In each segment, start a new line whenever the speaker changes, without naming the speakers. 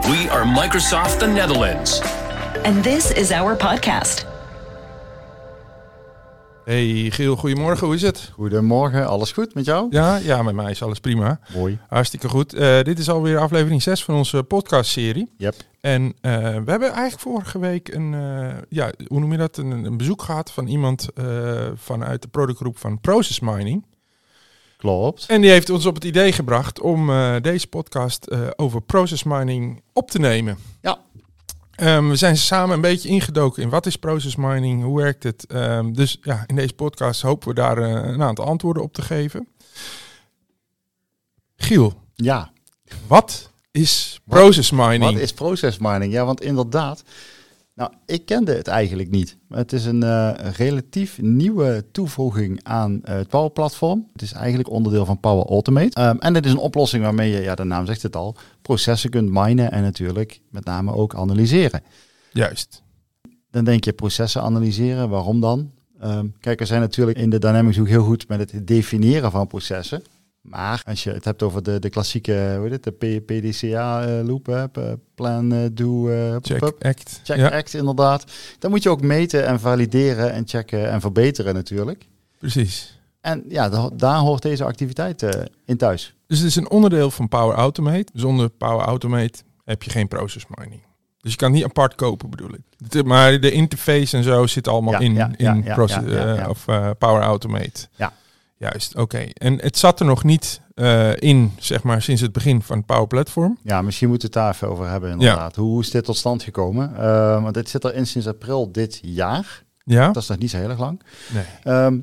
We are Microsoft the Netherlands.
And this is our podcast.
Hey Giel, goedemorgen, hoe is het?
Goedemorgen, alles goed met jou?
Ja, ja met mij is alles prima.
Mooi.
Hartstikke goed. Eh, dit is alweer aflevering 6 van onze podcastserie.
Yep.
En eh, we hebben eigenlijk vorige week een, eh, ja, hoe noem je dat? Een, een bezoek gehad van iemand eh, vanuit de productgroep van Process Mining.
Klopt.
En die heeft ons op het idee gebracht om eh, deze podcast eh, over process mining op te nemen.
Ja.
Ehm, we zijn samen een beetje ingedoken in wat is process mining, hoe werkt het. Ehm, dus ja, in deze podcast hopen we daar eh, een aantal antwoorden op te geven. Giel,
Ja,
wat is process mining?
wat is process mining? Ja, want inderdaad, nou, ik kende het eigenlijk niet. Het is een eh, relatief nieuwe toevoeging aan eh, het Power Platform. Het is eigenlijk onderdeel van Power Automate. Ehm, en het is een oplossing waarmee je, ja, de naam zegt het al, processen kunt minen en natuurlijk met name ook analyseren.
Juist.
Dan denk je processen analyseren, waarom dan? Ehm, kijk, we zijn natuurlijk in de Dynamics ook heel goed met het definiëren van processen. Maar als je het hebt over de, de klassieke, hoe heet het, de P- PDCA eh, loop, hè, p- plan, eh, do, eh,
Check,
pup,
act.
check
ja,
act inderdaad. Dan moet je ook meten en valideren en checken en verbeteren natuurlijk.
precies.
En ja, da- daar hoort deze activiteit eh, in thuis.
Dus het is een onderdeel van Power Automate. Zonder Power Automate heb je geen process mining. Dus je kan het niet apart kopen, bedoel ik. Het- Maar de interface en zo zit allemaal
Ja,
in,
ja, ja,
in
ja,
process,
ja, ja,
eh,
ja.
Of, eh, Power Automate.
Ja.
Juist, oké. En het zat er nog niet eh, in, zeg maar, sinds het begin van Power Platform.
Ja, misschien moeten we het daar even over hebben inderdaad. Hoe is dit tot stand gekomen? Eh, want dit zit erin sinds april dit jaar.
Ja?
Dat is nog niet zo heel erg lang.
Nee.
Ehm,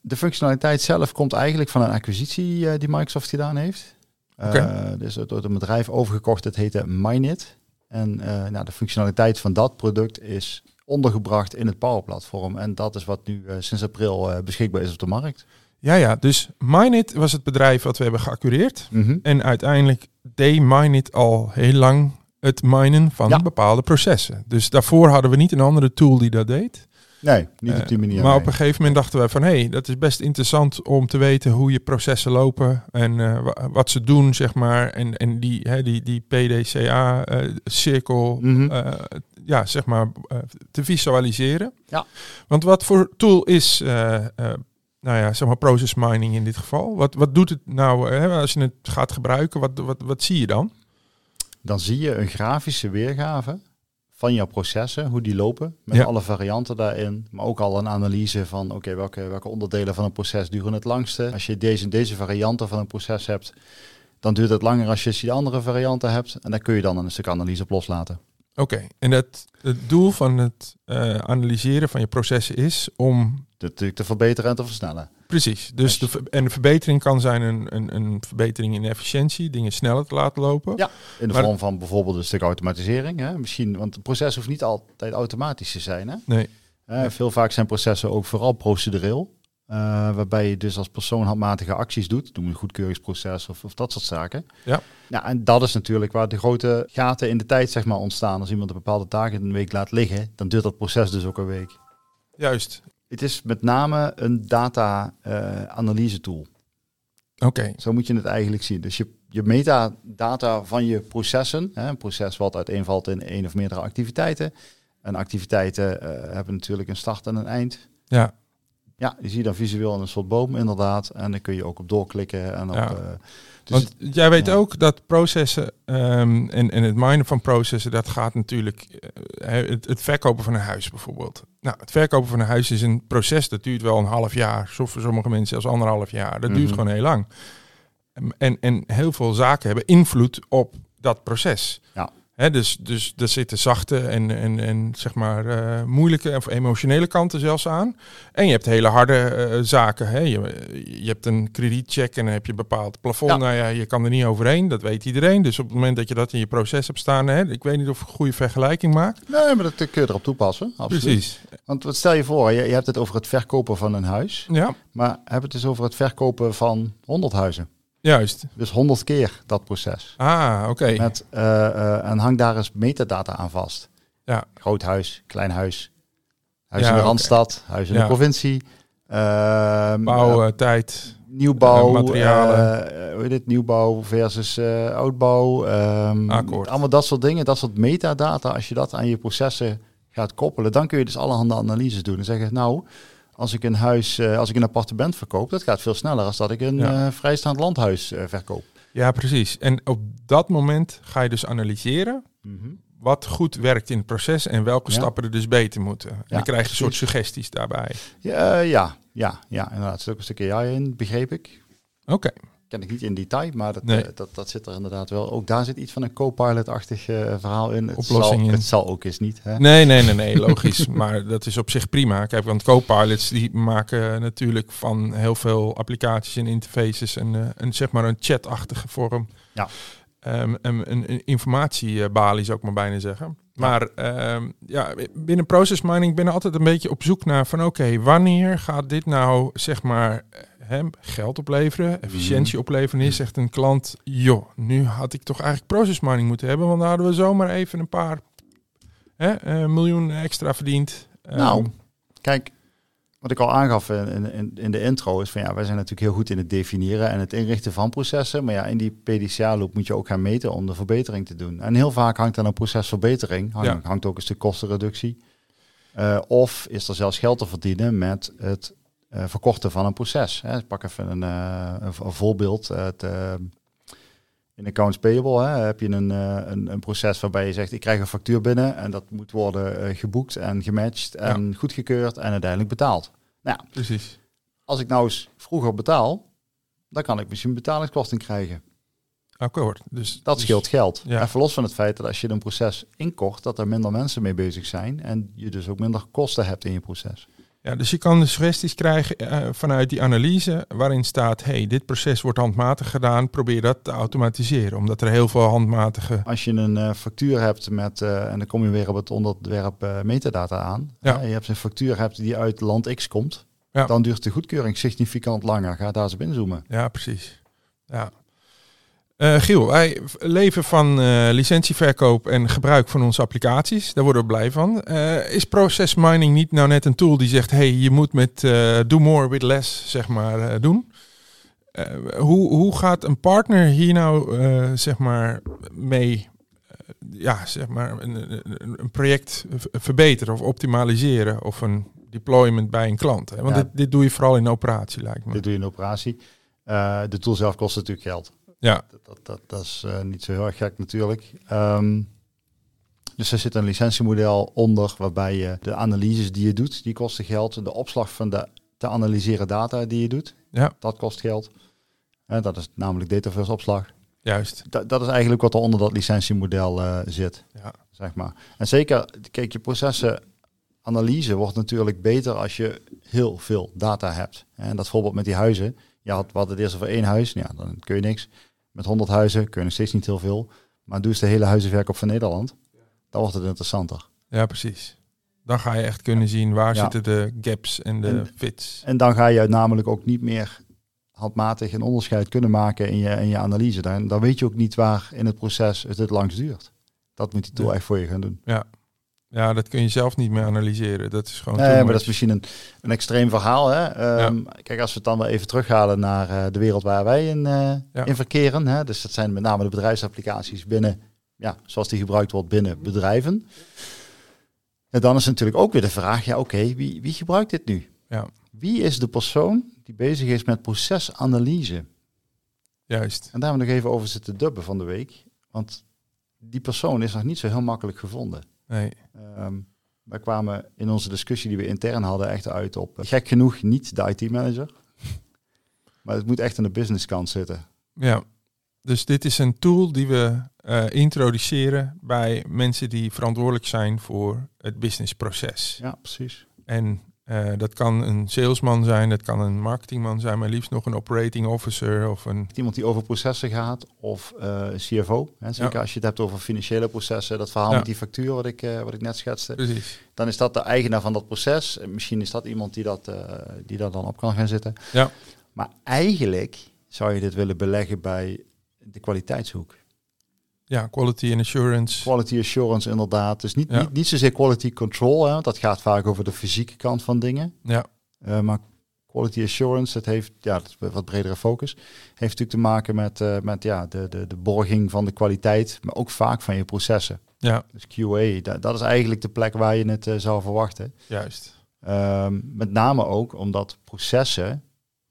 de functionaliteit zelf komt eigenlijk van een acquisitie eh, die Microsoft gedaan heeft. Eh,
Oké.
dus het wordt een bedrijf overgekocht, het heette Minit. En eh, nou, de functionaliteit van dat product is ondergebracht in het Power Platform. En dat is wat nu eh, sinds april eh, beschikbaar is op de markt.
Ja, ja. Dus Minit was het bedrijf wat we hebben geaccureerd.
Mhm.
En uiteindelijk deed Minit al heel lang het minen van
Ja.
bepaalde processen. Dus daarvoor hadden we niet een andere tool die dat deed.
Nee, niet op die
Eh,
manier.
maar
nee.
op een gegeven moment dachten wij van hé, hey, dat is best interessant om te weten hoe je processen lopen en eh, wa- wat ze doen, zeg maar. En, en die, hè, die, die PDCA-cirkel,
Mhm.
eh, ja, zeg maar, eh, te visualiseren.
Ja.
Want wat voor tool is, eh, eh, nou ja, zeg maar, process mining in dit geval? Wat, wat doet het nou eh, als je het gaat gebruiken? Wat, wat, wat zie je dan?
Dan zie je een grafische weergave van jouw processen, hoe die lopen, met
Ja.
alle varianten daarin. Maar ook al een analyse van, oké, welke, welke onderdelen van een proces duren het langste. Als je deze en deze varianten van een proces hebt, dan duurt het langer als je die andere varianten hebt. En daar kun je dan een stuk analyse op loslaten.
Oké, en dat, het doel van het eh, analyseren van je processen is om
Natuurlijk te verbeteren en te versnellen.
Precies. Dus de,
Precies.
ver- en de verbetering kan zijn een, een, een verbetering in efficiëntie, dingen sneller te laten lopen.
Ja. In de
Maar-
vorm van bijvoorbeeld een stuk automatisering. Hè? Misschien, want het proces hoeft niet altijd automatisch te zijn. Hè?
Nee.
Eh, veel vaak zijn processen ook vooral procedureel. eh, waarbij je dus als persoon handmatige acties doet. Doe een goedkeuringsproces of, of dat soort zaken.
Ja.
Nou, en dat is natuurlijk waar de grote gaten in de tijd zeg maar, ontstaan. Als iemand een bepaalde taak in een week laat liggen, dan duurt dat proces dus ook een week.
Juist.
Het is met name een data-analyse tool.
Oké.
Zo moet je het eigenlijk zien. Dus je, je metadata van je processen, hè, een proces wat uiteenvalt in één of meerdere activiteiten. En activiteiten eh, hebben natuurlijk een start en een eind.
Ja.
Ja, die zie je dan visueel in een soort boom inderdaad. En dan kun je ook op doorklikken. En op,
Ja.
eh, dus
Want jij weet
ja.
ook dat processen ehm, en, en het minen van processen, dat gaat natuurlijk. eh, het, het verkopen van een huis bijvoorbeeld. Nou, het verkopen van een huis is een proces dat duurt wel een half jaar. Zo voor sommige mensen zelfs anderhalf jaar. Dat duurt
Mhm.
gewoon heel lang. Ehm, En, en heel veel zaken hebben invloed op dat proces.
Ja.
Hè, dus, dus daar zitten zachte en, en, en zeg maar eh, moeilijke of emotionele kanten zelfs aan. En je hebt hele harde eh, zaken. Hè. Je, je hebt een kredietcheck en dan heb je een bepaald plafond.
Ja.
Nou ja, je kan er niet overheen, dat weet iedereen. Dus op het moment dat je dat in je proces hebt staan, hè, ik weet niet of ik een goede vergelijking maak.
nee, maar dat kun je erop toepassen. Absoluut.
Precies.
Want wat stel je voor, je, je hebt het over het verkopen van een huis.
Ja,
Maar heb het dus over het verkopen van 100 huizen.
juist.
Dus 100 keer dat proces.
Ah, oké.
Met, eh, eh, en hang daar eens metadata aan vast.
Ja.
Groot huis, klein huis. Huis
Ja,
in de
oké.
Randstad, huis in
Ja.
de provincie. ehm,
Bouw, eh, tijd.
nieuwbouw,
Eh, materialen.
eh, hoe heet het, nieuwbouw versus eh, oudbouw. ehm,
Akkoord.
Allemaal dat soort dingen, dat soort metadata. Als je dat aan je processen gaat koppelen, dan kun je dus allerhande analyses doen. En zeggen, nou, als ik een huis, eh, als ik een appartement verkoop, dat gaat veel sneller als dat ik een
Ja.
eh, vrijstaand landhuis eh, verkoop.
Ja, precies. En op dat moment ga je dus analyseren wat goed werkt in het proces en welke
Mhm. Ja.
stappen er dus beter moeten. En
Ja,
dan krijg je een soort
precies.
suggesties daarbij.
ja, eh, ja, ja, ja, inderdaad. Er zit ook een stukje AI in, begreep ik.
Oké,
Ken ik niet in detail, maar dat,
Nee.
eh, dat, dat zit er inderdaad wel. Ook daar zit iets van een co-pilot-achtig eh, verhaal in. Het
Oplossing
zal,
in.
Het zal ook eens niet. Hè?
nee, nee, nee, nee, logisch. maar dat is op zich prima. Kijk, want co-pilots die maken natuurlijk van heel veel applicaties en interfaces een, eh, een zeg maar een chatachtige vorm.
Ja.
Ehm, een, een, een informatiebalie zou ik maar bijna zeggen. Maar ehm, ja, binnen process mining ben ik altijd een beetje op zoek naar van oké, wanneer gaat dit nou zeg maar hè, geld opleveren, efficiëntie opleveren. Wanneer zegt een klant, joh, nu had ik toch eigenlijk process mining moeten hebben, want dan hadden we zomaar even een paar hè, eh, miljoen extra verdiend.
Nou,
Ehm,
kijk, wat ik al aangaf in, in- in, in de intro is van ja, wij zijn natuurlijk heel goed in het definiëren en het inrichten van processen. Maar ja, in die PDCA-loop moet je ook gaan meten om de verbetering te doen. En heel vaak hangt aan een procesverbetering, hang-
Ja.
hangt ook een stuk kostenreductie. Eh, of is er zelfs geld te verdienen met het eh, verkorten van een proces. Hè. Ik pak even een, eh, een, v- een voorbeeld. Het, eh, in accounts payable hè, heb je een, eh, een, een proces waarbij je zegt, ik krijg een factuur binnen en dat moet worden eh, geboekt en gematcht en goedgekeurd en uiteindelijk betaald. Nou, ja,
precies.
als ik nou eens vroeger betaal, dan kan ik misschien betalingskosting krijgen.
Akkoord. Dus,
Dat
dus-
scheelt geld.
ja.
Even los van het feit dat als je een proces inkort, dat er minder mensen mee bezig zijn en je dus ook minder kosten hebt in je proces.
Ja, dus je kan de suggesties krijgen eh, vanuit die analyse waarin staat, hey, dit proces wordt handmatig gedaan, probeer dat te automatiseren. Omdat er heel veel handmatige...
Als je een eh, factuur hebt met, eh, en dan kom je weer op het onderwerp eh, metadata aan.
Ja.
Eh, je hebt een factuur hebt die uit land X komt.
Ja.
Dan duurt de goedkeuring significant langer. Ga daar eens op inzoomen.
Ja, precies. Ja. Eh, Giel, wij v- leven van eh, licentieverkoop en gebruik van onze applicaties. Daar worden we blij van. Eh, is process mining niet nou net een tool die zegt, hey, je moet met eh, do more with less, zeg maar, eh, doen? Eh, hoe, hoe gaat een partner hier nou, eh, zeg maar, mee, eh, ja, zeg maar, een, een- een project v- verbeteren of optimaliseren of een deployment bij een klant? Hè? Want
Ja.
dit, dit doe je vooral in operatie, lijkt me.
Dit doe je in de operatie. Eh, de tool zelf kost natuurlijk geld.
Ja.
Dat, dat, dat, dat is eh, niet zo heel erg gek natuurlijk. Ehm, dus er zit een licentiemodel onder waarbij je de analyses die je doet, die kosten geld. De opslag van de te analyseren data die je doet,
Ja.
dat kost geld. En dat is namelijk dataverse opslag.
Juist.
Dat, dat is eigenlijk wat er onder dat licentiemodel eh, zit,
Ja.
zeg maar. En zeker, kijk, je processenanalyse wordt natuurlijk beter als je heel veel data hebt. En dat voorbeeld met die huizen. Je had, we hadden het eerst over één huis, Nou ja, dan kun je niks. Met 100 huizen kun je nog steeds niet heel veel. Maar doe eens de hele huizenverkoop van Nederland. Dan wordt het interessanter.
Ja, precies. Dan ga je echt kunnen zien waar
Ja.
zitten de gaps en de
En-
fits.
En dan ga je namelijk ook niet meer handmatig een onderscheid kunnen maken in je, in je analyse. Dan, dan weet je ook niet waar in het proces het het langst duurt. Dat moet die tool
Ja.
echt voor je gaan doen.
Ja, dat kun je zelf niet meer analyseren. Dat is gewoon. too
Nee, maar dat
much.
is misschien een, een extreem verhaal. Hè? Ehm, Kijk, als we het dan wel even terughalen naar eh, de wereld waar wij in, eh,
Ja.
in verkeren. Hè? Dus dat zijn met name de bedrijfsapplicaties binnen, ja, zoals die gebruikt wordt binnen bedrijven. En dan is natuurlijk ook weer de vraag, ja oké, wie, wie gebruikt dit nu?
Ja.
Wie is de persoon die bezig is met procesanalyse?
Juist.
En daar hebben we nog even over zitten dubben van de week. Want die persoon is nog niet zo heel makkelijk gevonden.
Nee.
Ehm wij kwamen in onze discussie die we intern hadden echt uit op, eh, gek genoeg, niet de IT-manager. Maar het moet echt aan de businesskant zitten.
Ja. Dus dit is een tool die we eh, introduceren bij mensen die verantwoordelijk zijn voor het businessproces.
Ja, precies.
En eh, dat kan een salesman zijn, dat kan een marketingman zijn, maar liefst nog een operating officer of een.
Iemand die over processen gaat of eh, CFO. Hè, zeker
Ja.
als je het hebt over financiële processen. Dat verhaal
Ja.
met die factuur wat ik, eh, wat ik net schetste.
Precies.
Dan is dat de eigenaar van dat proces. En Misschien is dat iemand die, dat, eh, die daar dan op kan gaan zitten.
Ja.
Maar eigenlijk zou je dit willen beleggen bij de kwaliteitshoek.
Ja, quality and assurance.
Quality assurance inderdaad. Dus niet,
Ja.
niet, niet zozeer quality control, hè, want dat gaat vaak over de fysieke kant van dingen.
Ja.
Eh, maar Quality assurance, dat heeft ja, dat is een wat bredere focus. Heeft natuurlijk te maken met, eh, met ja, de, de, de borging van de kwaliteit, maar ook vaak van je processen.
Ja,
Dus QA, da- dat is eigenlijk de plek waar je het eh, zou verwachten.
juist.
Ehm, met name ook omdat processen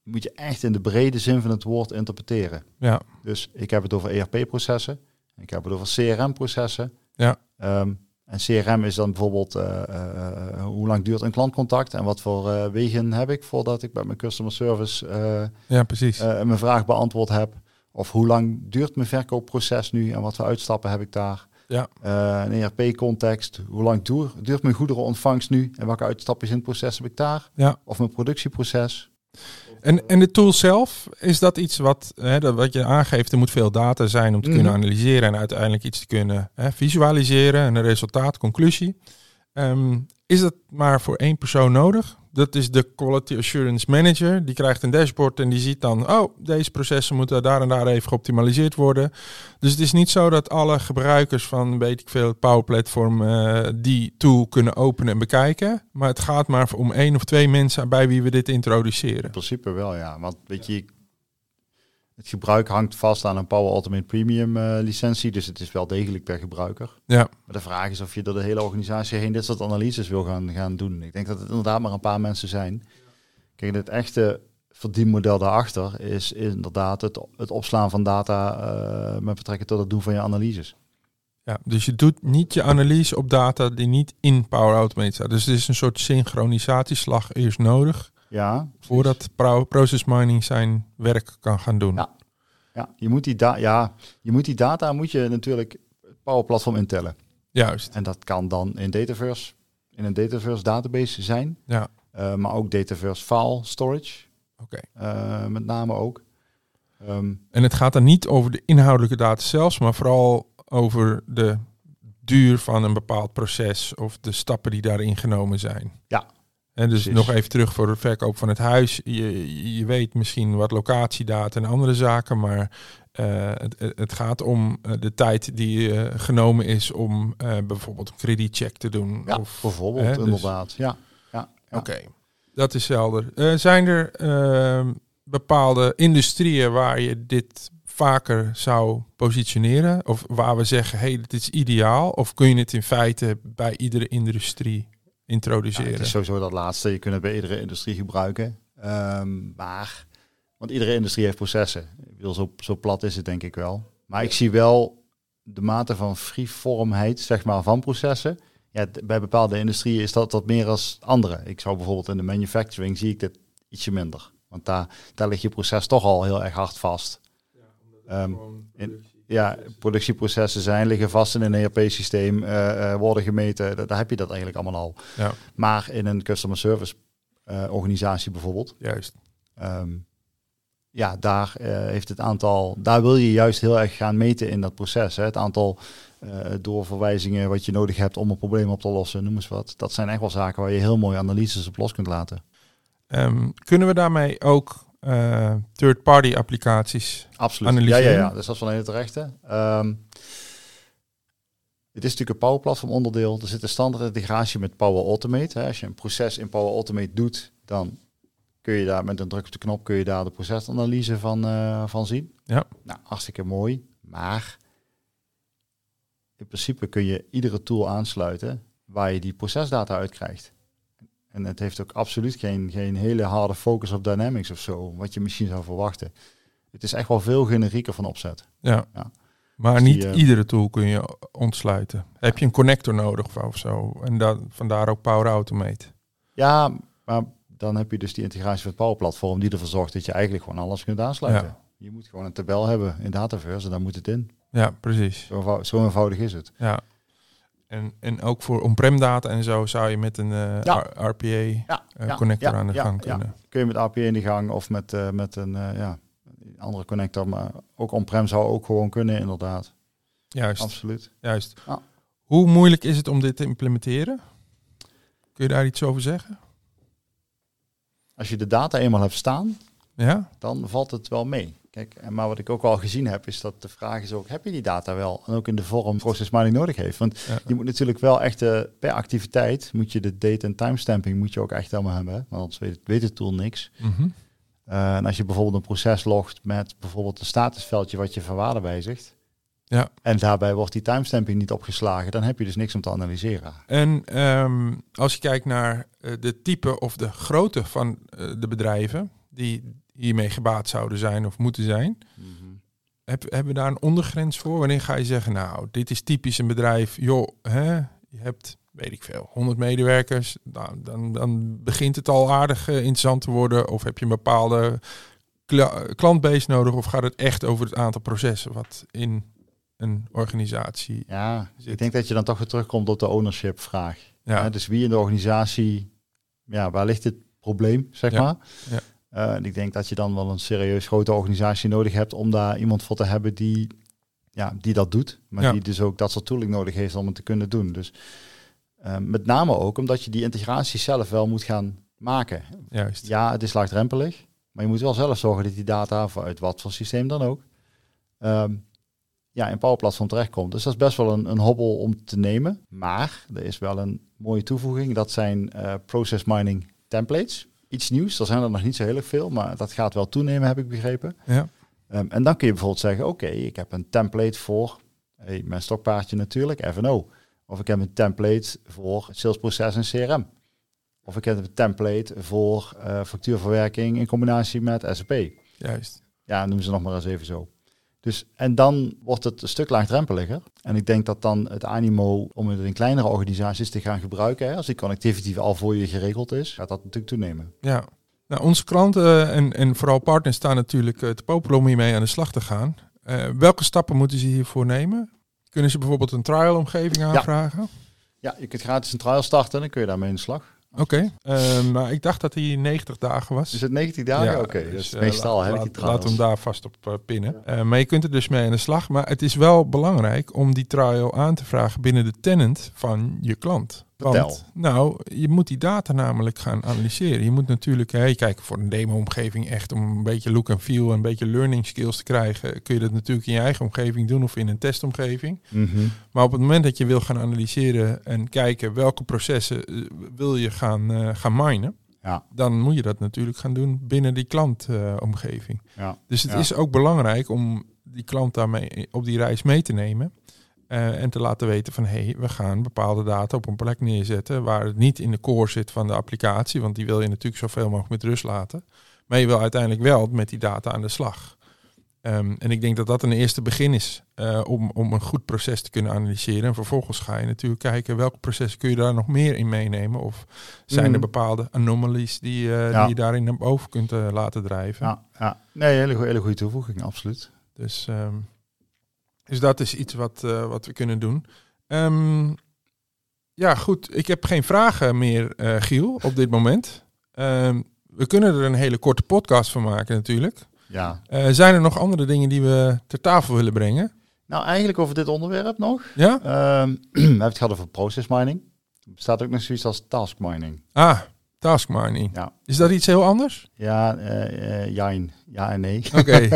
moet je echt in de brede zin van het woord interpreteren.
Ja,
Dus ik heb het over ERP-processen, ik heb het over CRM-processen.
Ja.
Ehm, en CRM is dan bijvoorbeeld eh, eh, eh, hoe lang duurt een klantcontact en wat voor eh, wegen heb ik voordat ik bij mijn customer service eh,
ja precies.
eh, mijn vraag beantwoord heb. Of hoe lang duurt mijn verkoopproces nu en wat voor uitstappen heb ik daar?
Ja.
Eh, een ERP-context, hoe lang duur- duurt mijn goederenontvangst nu en welke uitstapjes in het proces heb ik daar?
Ja.
Of mijn productieproces?
En, en de tool zelf, is dat iets wat, hè, dat, wat je aangeeft, er moet veel data zijn om te
Mhm.
kunnen analyseren en uiteindelijk iets te kunnen hè, visualiseren en een resultaat, conclusie. Ehm, is dat maar voor één persoon nodig? Dat is de Quality Assurance Manager. Die krijgt een dashboard en die ziet dan, oh, deze processen moeten daar en daar even geoptimaliseerd worden. Dus het is niet zo dat alle gebruikers van, weet ik veel, het Power Platform eh, die tool kunnen openen en bekijken. Maar het gaat maar om één of twee mensen bij wie we dit introduceren.
In principe wel, ja. Want weet je, het gebruik hangt vast aan een Power Ultimate Premium eh, licentie, dus het is wel degelijk per gebruiker.
Ja,
Maar de vraag is of je door de hele organisatie heen dit soort analyses wil gaan, gaan doen. Ik denk dat het inderdaad maar een paar mensen zijn. Kijk, het echte verdienmodel daarachter is inderdaad het, het opslaan van data eh, met betrekking tot het doen van je analyses.
ja, dus je doet niet je analyse op data die niet in Power Automate staat. Dus het is een soort synchronisatieslag eerst nodig
Ja,
voordat pro- process mining zijn werk kan gaan doen.
Ja. ja, je moet die da- ja, je moet die data moet je natuurlijk het Power Platform intellen.
Juist,
En dat kan dan in Dataverse, in een Dataverse database zijn,
ja,
eh, maar ook Dataverse file storage,
oké.
eh, met name ook. Ehm,
En het gaat dan niet over de inhoudelijke data zelfs, maar vooral over de duur van een bepaald proces of de stappen die daarin genomen zijn.
Ja.
En dus
Precies.
nog even terug voor de verkoop van het huis. Je, je weet misschien wat locatiedata en andere zaken, maar eh, het, het- het gaat om eh, de tijd die eh, genomen is om eh, bijvoorbeeld een kredietcheck te doen.
ja,
of,
bijvoorbeeld,
hè, dus-
inderdaad. Ja, ja, ja.
Oké, dat is helder. Eh, zijn er eh, bepaalde industrieën waar je dit vaker zou positioneren? Of waar we zeggen, hé, hey, dit is ideaal? Of kun je het in feite bij iedere industrie
Ja,
introduceren?
het is sowieso dat laatste. Je kunt het bij iedere industrie gebruiken. Ehm, maar, want iedere industrie heeft processen. Ik bedoel, zo, zo plat is het denk ik wel. Maar ik zie wel de mate van freeformheid zeg maar, van processen. Ja, d- bij bepaalde industrieën is dat wat meer als andere. Ik zou bijvoorbeeld in de manufacturing zie ik dit ietsje minder. Want daar, daar ligt je proces toch al heel erg hard vast. Ehm, in- ja, productieprocessen zijn, liggen vast in een ERP-systeem, eh, eh, worden gemeten. Da- Daar heb je dat eigenlijk allemaal al.
Ja,
Maar in een customer service eh, organisatie bijvoorbeeld,
juist.
ehm, ja, daar eh, heeft het aantal, daar wil je juist heel erg gaan meten in dat proces. Hè? Het aantal eh, doorverwijzingen wat je nodig hebt om een probleem op te lossen, noem eens wat. Dat zijn echt wel zaken waar je heel mooie analyses op los kunt laten.
Ehm, kunnen we daarmee ook eh, third-party applicaties?
Absoluut. Ja, ja,
Analyseren.
ja, dus dat is wel een hele terechte. Ehm, het is natuurlijk een Power Platform onderdeel. Er zit een standaard integratie met Power Automate. Hè. Als je een proces in Power Automate doet, dan kun je daar met een druk op de knop kun je daar de procesanalyse van, eh, van zien.
Ja.
Nou, hartstikke mooi. Maar in principe kun je iedere tool aansluiten waar je die procesdata uit krijgt. En het heeft ook absoluut geen, geen hele harde focus op dynamics of zo, wat je misschien zou verwachten. Het is echt wel veel generieker van opzet.
Ja.
Ja.
Maar
Dus die,
niet
eh,
iedere tool kun je ontsluiten. Heb je een connector nodig of- of zo? En da- vandaar ook Power Automate.
Ja, maar dan heb je dus die integratie van het Power Platform die ervoor zorgt dat je eigenlijk gewoon alles kunt aansluiten.
Ja.
Je moet gewoon een tabel hebben in Dataverse en daar moet het in.
Ja, precies.
Zo, eenvou- zo eenvoudig is het.
Ja. En, en ook voor on-prem data en zo zou je met een eh,
Ja.
R- RPA eh,
Ja,
connector
ja,
aan de
ja,
gang
ja.
kunnen.
Kun je met API in de gang of met, eh, met een eh, ja, andere connector, maar ook on-prem zou ook gewoon kunnen inderdaad.
Juist,
Absoluut.
juist.
Ja.
Hoe moeilijk is het om dit te implementeren? Kun je daar iets over zeggen?
Als je de data eenmaal hebt staan,
Ja?
dan valt het wel mee. Kijk, en maar wat ik ook al gezien heb, is dat de vraag is ook, heb je die data wel? En ook in de vorm process mining nodig heeft. Want
Ja.
je moet natuurlijk wel echt eh, per activiteit, moet je de date en timestamping moet je ook echt helemaal hebben. hè? Want anders weet, weet de tool niks.
Mhm.
Eh, en als je bijvoorbeeld een proces logt met bijvoorbeeld een statusveldje wat je van waarde wijzigt.
Ja.
En daarbij wordt die timestamping niet opgeslagen, dan heb je dus niks om te analyseren.
En ehm, als je kijkt naar eh, de type of de grootte van eh, de bedrijven die hiermee gebaat zouden zijn of moeten zijn, heb, hebben we daar een ondergrens voor? Wanneer ga je zeggen, nou, dit is typisch een bedrijf, joh, hè, je hebt, weet ik veel, 100 medewerkers, nou, dan, dan begint het al aardig eh, interessant te worden. Of heb je een bepaalde kla- klantbase nodig, of gaat het echt over het aantal processen wat in een organisatie
Ja,
zit?
ik denk dat je dan toch weer terugkomt op de ownership vraag.
ja,
Hè, dus wie in de organisatie, ja, waar ligt dit probleem, zeg
Ja,
maar.
ja.
Eh, en ik denk dat je dan wel een serieus grote organisatie nodig hebt om daar iemand voor te hebben die, ja, die dat doet. Maar
Ja.
die dus ook dat soort tooling nodig heeft om het te kunnen doen. Dus eh, met name ook omdat je die integratie zelf wel moet gaan maken.
juist.
Ja, het is laagdrempelig. Maar je moet wel zelf zorgen dat die data vanuit wat voor systeem dan ook. ehm, ja, in Power Platform terechtkomt. Dus dat is best wel een, een hobbel om te nemen. Maar er is wel een mooie toevoeging. Dat zijn eh, process mining templates. Iets nieuws. Er zijn er nog niet zo heel erg veel. Maar dat gaat wel toenemen, heb ik begrepen.
Ja.
Ehm, en dan kun je bijvoorbeeld zeggen, oké, ik heb een template voor hey, mijn stokpaardje natuurlijk, F&O. Of ik heb een template voor het salesproces en CRM. Of ik heb een template voor eh, factuurverwerking in combinatie met SAP.
Juist.
Ja, noem ze nog maar eens even zo. Dus, en dan wordt het een stuk laagdrempeliger. En ik denk dat dan het animo om het in kleinere organisaties te gaan gebruiken, hè, als die connectivity al voor je geregeld is, gaat dat natuurlijk toenemen.
Ja. Nou, onze klanten en, en vooral partners staan natuurlijk eh, te popelen om hiermee aan de slag te gaan. Eh, welke stappen moeten ze hiervoor nemen? Kunnen ze bijvoorbeeld een trial-omgeving aanvragen?
Ja, je kunt gratis een trial starten en dan kun je daarmee in de slag.
Oké, Eh, maar ik dacht dat die 90 dagen was.
Is het 90 dagen? Oké,
dus,
dat is
eh,
meestal
laat-
heb ik die
laat-
trials.
Laat hem daar vast op eh, pinnen. Eh, maar je kunt er dus mee aan de slag. Maar het is wel belangrijk om die trial aan te vragen binnen de tenant van je klant.
Vertel.
nou, je moet die data namelijk gaan analyseren. Je moet natuurlijk, hè, je kijkt voor een demo-omgeving echt om een beetje look en feel en een beetje learning skills te krijgen. Kun je dat natuurlijk in je eigen omgeving doen of in een testomgeving.
Mhm.
Maar op het moment dat je wil gaan analyseren en kijken welke processen eh, wil je gaan, eh, gaan minen,
Ja.
dan moet je dat natuurlijk gaan doen binnen die klantomgeving.
Ja.
dus het
ja.
is ook belangrijk om die klant daarmee op die reis mee te nemen. eh, en te laten weten van hé, hey, we gaan bepaalde data op een plek neerzetten waar het niet in de core zit van de applicatie, want die wil je natuurlijk zoveel mogelijk met rust laten. Maar je wil uiteindelijk wel met die data aan de slag. Ehm, en ik denk dat dat een eerste begin is eh, om, om een goed proces te kunnen analyseren. En vervolgens ga je natuurlijk kijken welke processen kun je daar nog meer in meenemen. Of zijn
Mhm.
er bepaalde anomalies die, eh,
Ja.
die je daarin naar boven kunt eh, laten drijven.
Ja, ja. Nee, hele goede, hele goede toevoeging, absoluut.
Dus, ehm, dus dat is iets wat, eh, wat we kunnen doen. Ehm, ja, goed. Ik heb geen vragen meer, eh, Giel, op dit moment. Ehm, we kunnen er een hele korte podcast van maken natuurlijk.
Ja.
Eh, zijn er nog andere dingen die we ter tafel willen brengen?
Nou, eigenlijk over dit onderwerp nog.
Ja?
Ehm we hebben het gehad over process mining. Er bestaat ook nog zoiets als task mining.
Ah, task mining.
Ja,
Is dat iets heel anders?
ja, eh, eh, jijn. ja en nee.
Oké.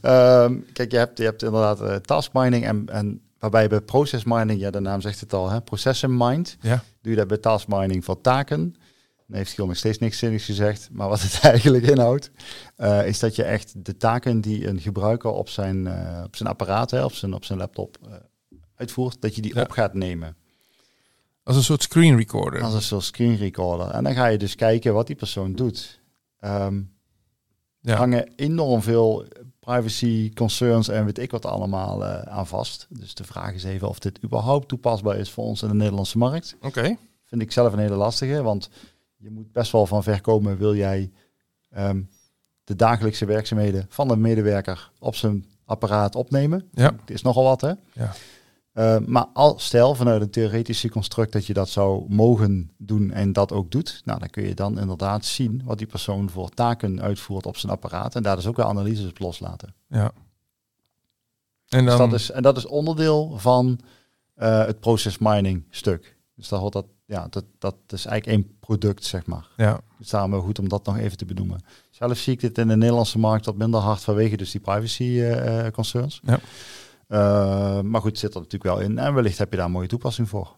Ehm, kijk, je hebt, je hebt inderdaad eh, task mining en, en waarbij bij process mining, ja, de naam zegt het al, hè, processen mind.
Ja.
Doe je dat bij task mining voor taken. Dan heeft Giel nog steeds niks zinnigs gezegd, maar wat het eigenlijk inhoudt, eh, is dat je echt de taken die een gebruiker op zijn, eh, op zijn apparaat, hè, op, zijn, op zijn laptop eh, uitvoert, dat je die
Ja.
op gaat nemen
Als een soort screen recorder.
als een soort screen recorder. En dan ga je dus kijken wat die persoon doet. Ehm,
Ja.
hangen enorm veel privacy concerns en weet ik wat allemaal eh, aan vast. Dus de vraag is even of dit überhaupt toepasbaar is voor ons in de Nederlandse markt.
Oké.
Vind ik zelf een hele lastige, want je moet best wel van ver komen wil jij ehm, de dagelijkse werkzaamheden van een medewerker op zijn apparaat opnemen.
Ja.
Het is nogal wat, hè?
Ja.
Eh, maar al, stel vanuit een theoretische construct dat je dat zou mogen doen en dat ook doet, nou, dan kun je dan inderdaad zien wat die persoon voor taken uitvoert op zijn apparaat en daar dus ook weer analyses op loslaten.
Ja. En
Dus
dan...
dat is, en dat is onderdeel van eh, het process mining stuk. Dus daar hoort dat ja, dat, dat is eigenlijk één product, zeg maar.
Ja,
Dus daarom goed om dat nog even te benoemen. Zelf zie ik dit in de Nederlandse markt wat minder hard vanwege dus die privacy eh, eh, concerns.
Ja.
Eh, maar goed, zit er natuurlijk wel in. En wellicht heb je daar een mooie toepassing voor.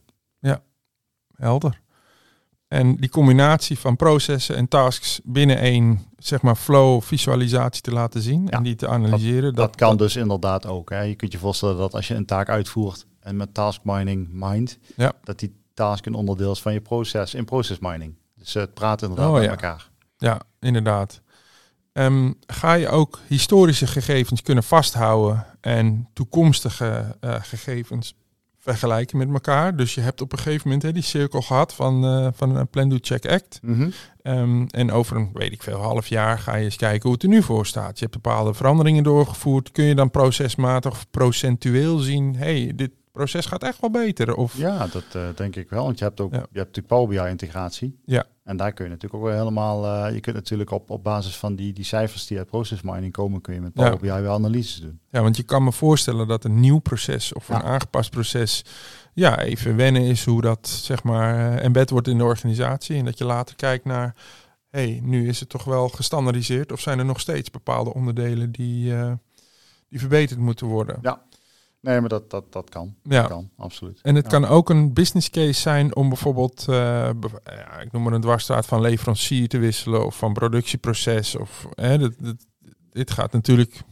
helder. En die combinatie van processen en tasks binnen één zeg maar, flow visualisatie te laten zien en die te analyseren.
Dat, kan dus inderdaad ook. Hè. Je kunt je voorstellen dat als je een taak uitvoert en met task mining mind,
Ja.
dat die task een onderdeel is van je proces in process mining. Dus eh, het praat inderdaad
Oh,
met
ja.
elkaar.
Ja, inderdaad. Ehm, ga je ook historische gegevens kunnen vasthouden en toekomstige eh, gegevens vergelijken met elkaar? Dus je hebt op een gegeven moment hè, die cirkel gehad van, eh, van eh, Plan Do Check Act.
Mhm.
Ehm, en over een, weet ik veel, half jaar ga je eens kijken hoe het er nu voor staat. Je hebt bepaalde veranderingen doorgevoerd. Kun je dan procesmatig of procentueel zien, hey, dit proces gaat echt wel beter? Of,
Ja, dat eh, denk ik wel. Want je hebt ook
Ja.
je hebt natuurlijk Power BI integratie.
Ja.
En daar kun je natuurlijk ook wel helemaal. eh, je kunt natuurlijk op, op basis van die, die cijfers die uit process mining komen, kun je met Power BI wel analyses doen.
Ja, want je kan me voorstellen dat een nieuw proces of een
Ja.
aangepast proces ja, even wennen is hoe dat zeg maar eh, embed wordt in de organisatie. En dat je later kijkt naar, hé, hey, nu is het toch wel gestandardiseerd of zijn er nog steeds bepaalde onderdelen die, eh, die verbeterd moeten worden.
Ja. Nee, maar dat, dat, dat kan. Dat
Ja.
kan, absoluut.
En het
Ja.
kan ook een business case zijn om bijvoorbeeld, eh, bev- ja, ik noem maar een dwarsstraat van leverancier te wisselen of van productieproces. Of, hè, dat, dat- dit gaat natuurlijk...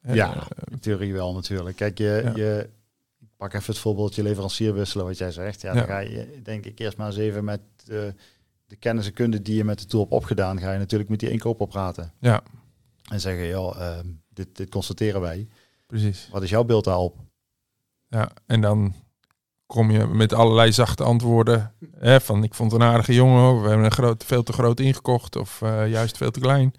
eh,
Ja. In theorie wel natuurlijk. Kijk, je,
Ja.
je ik pak even het voorbeeldje leverancier wisselen, wat jij zegt. Ja,
Ja.
dan ga je denk ik eerst maar eens even met eh, de kennis en kunde die je met de tool hebt opgedaan, ga je natuurlijk met die inkoper praten.
Ja.
En zeggen, joh, ehm, dit, dit constateren wij.
precies.
Wat is jouw beeld daarop?
Ja, en dan kom je met allerlei zachte antwoorden. Hè, van ik vond het een aardige jongen, of we hebben een groot, veel te groot ingekocht of eh, juist veel te klein.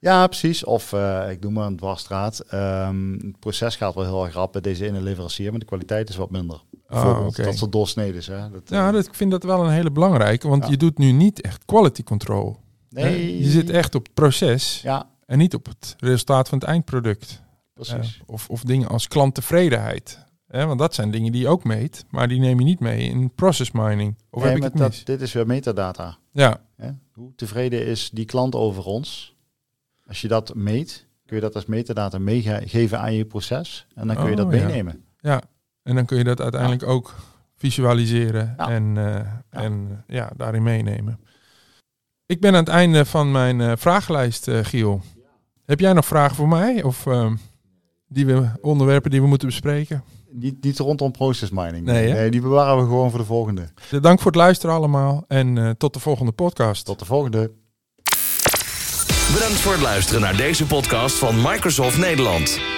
Ja, precies. Of eh, ik noem maar een dwarsstraat. Ehm, het proces gaat wel heel erg rap bij deze ene leverancier, maar de kwaliteit is wat minder.
Ah,
Bijvoorbeeld,
oké.
Dat soort doorsnedes. Hè? Dat, eh,
Ja, dat, ik vind dat wel een hele belangrijke, want
Ja.
je doet nu niet echt quality control. hè.
nee.
Je zit echt op het proces
Ja,
en niet op het resultaat van het eindproduct.
precies.
Eh, of, of dingen als klanttevredenheid. hè, want dat zijn dingen die je ook meet, maar die neem je niet mee in process mining. Of
Nee,
heb ik
maar
het
dat,
mis?
dit is weer metadata.
Ja,
Hè? Hoe tevreden is die klant over ons? Als je dat meet, kun je dat als metadata meegeven aan je proces. En dan kun je
Oh,
dat
ja.
meenemen.
Ja, en dan kun je dat uiteindelijk ook visualiseren
Ja.
en, eh, en eh, ja, daarin meenemen. Ik ben aan het einde van mijn eh, vragenlijst, eh, Giel. Heb jij nog vragen voor mij? Of ehm, die we, onderwerpen die we moeten bespreken?
Niet, niet rondom process mining.
Nee, hè?
die bewaren we gewoon voor de volgende.
De Dank voor het luisteren allemaal en eh, tot de volgende podcast.
Tot de volgende.
Bedankt voor het luisteren naar deze podcast van Microsoft Nederland.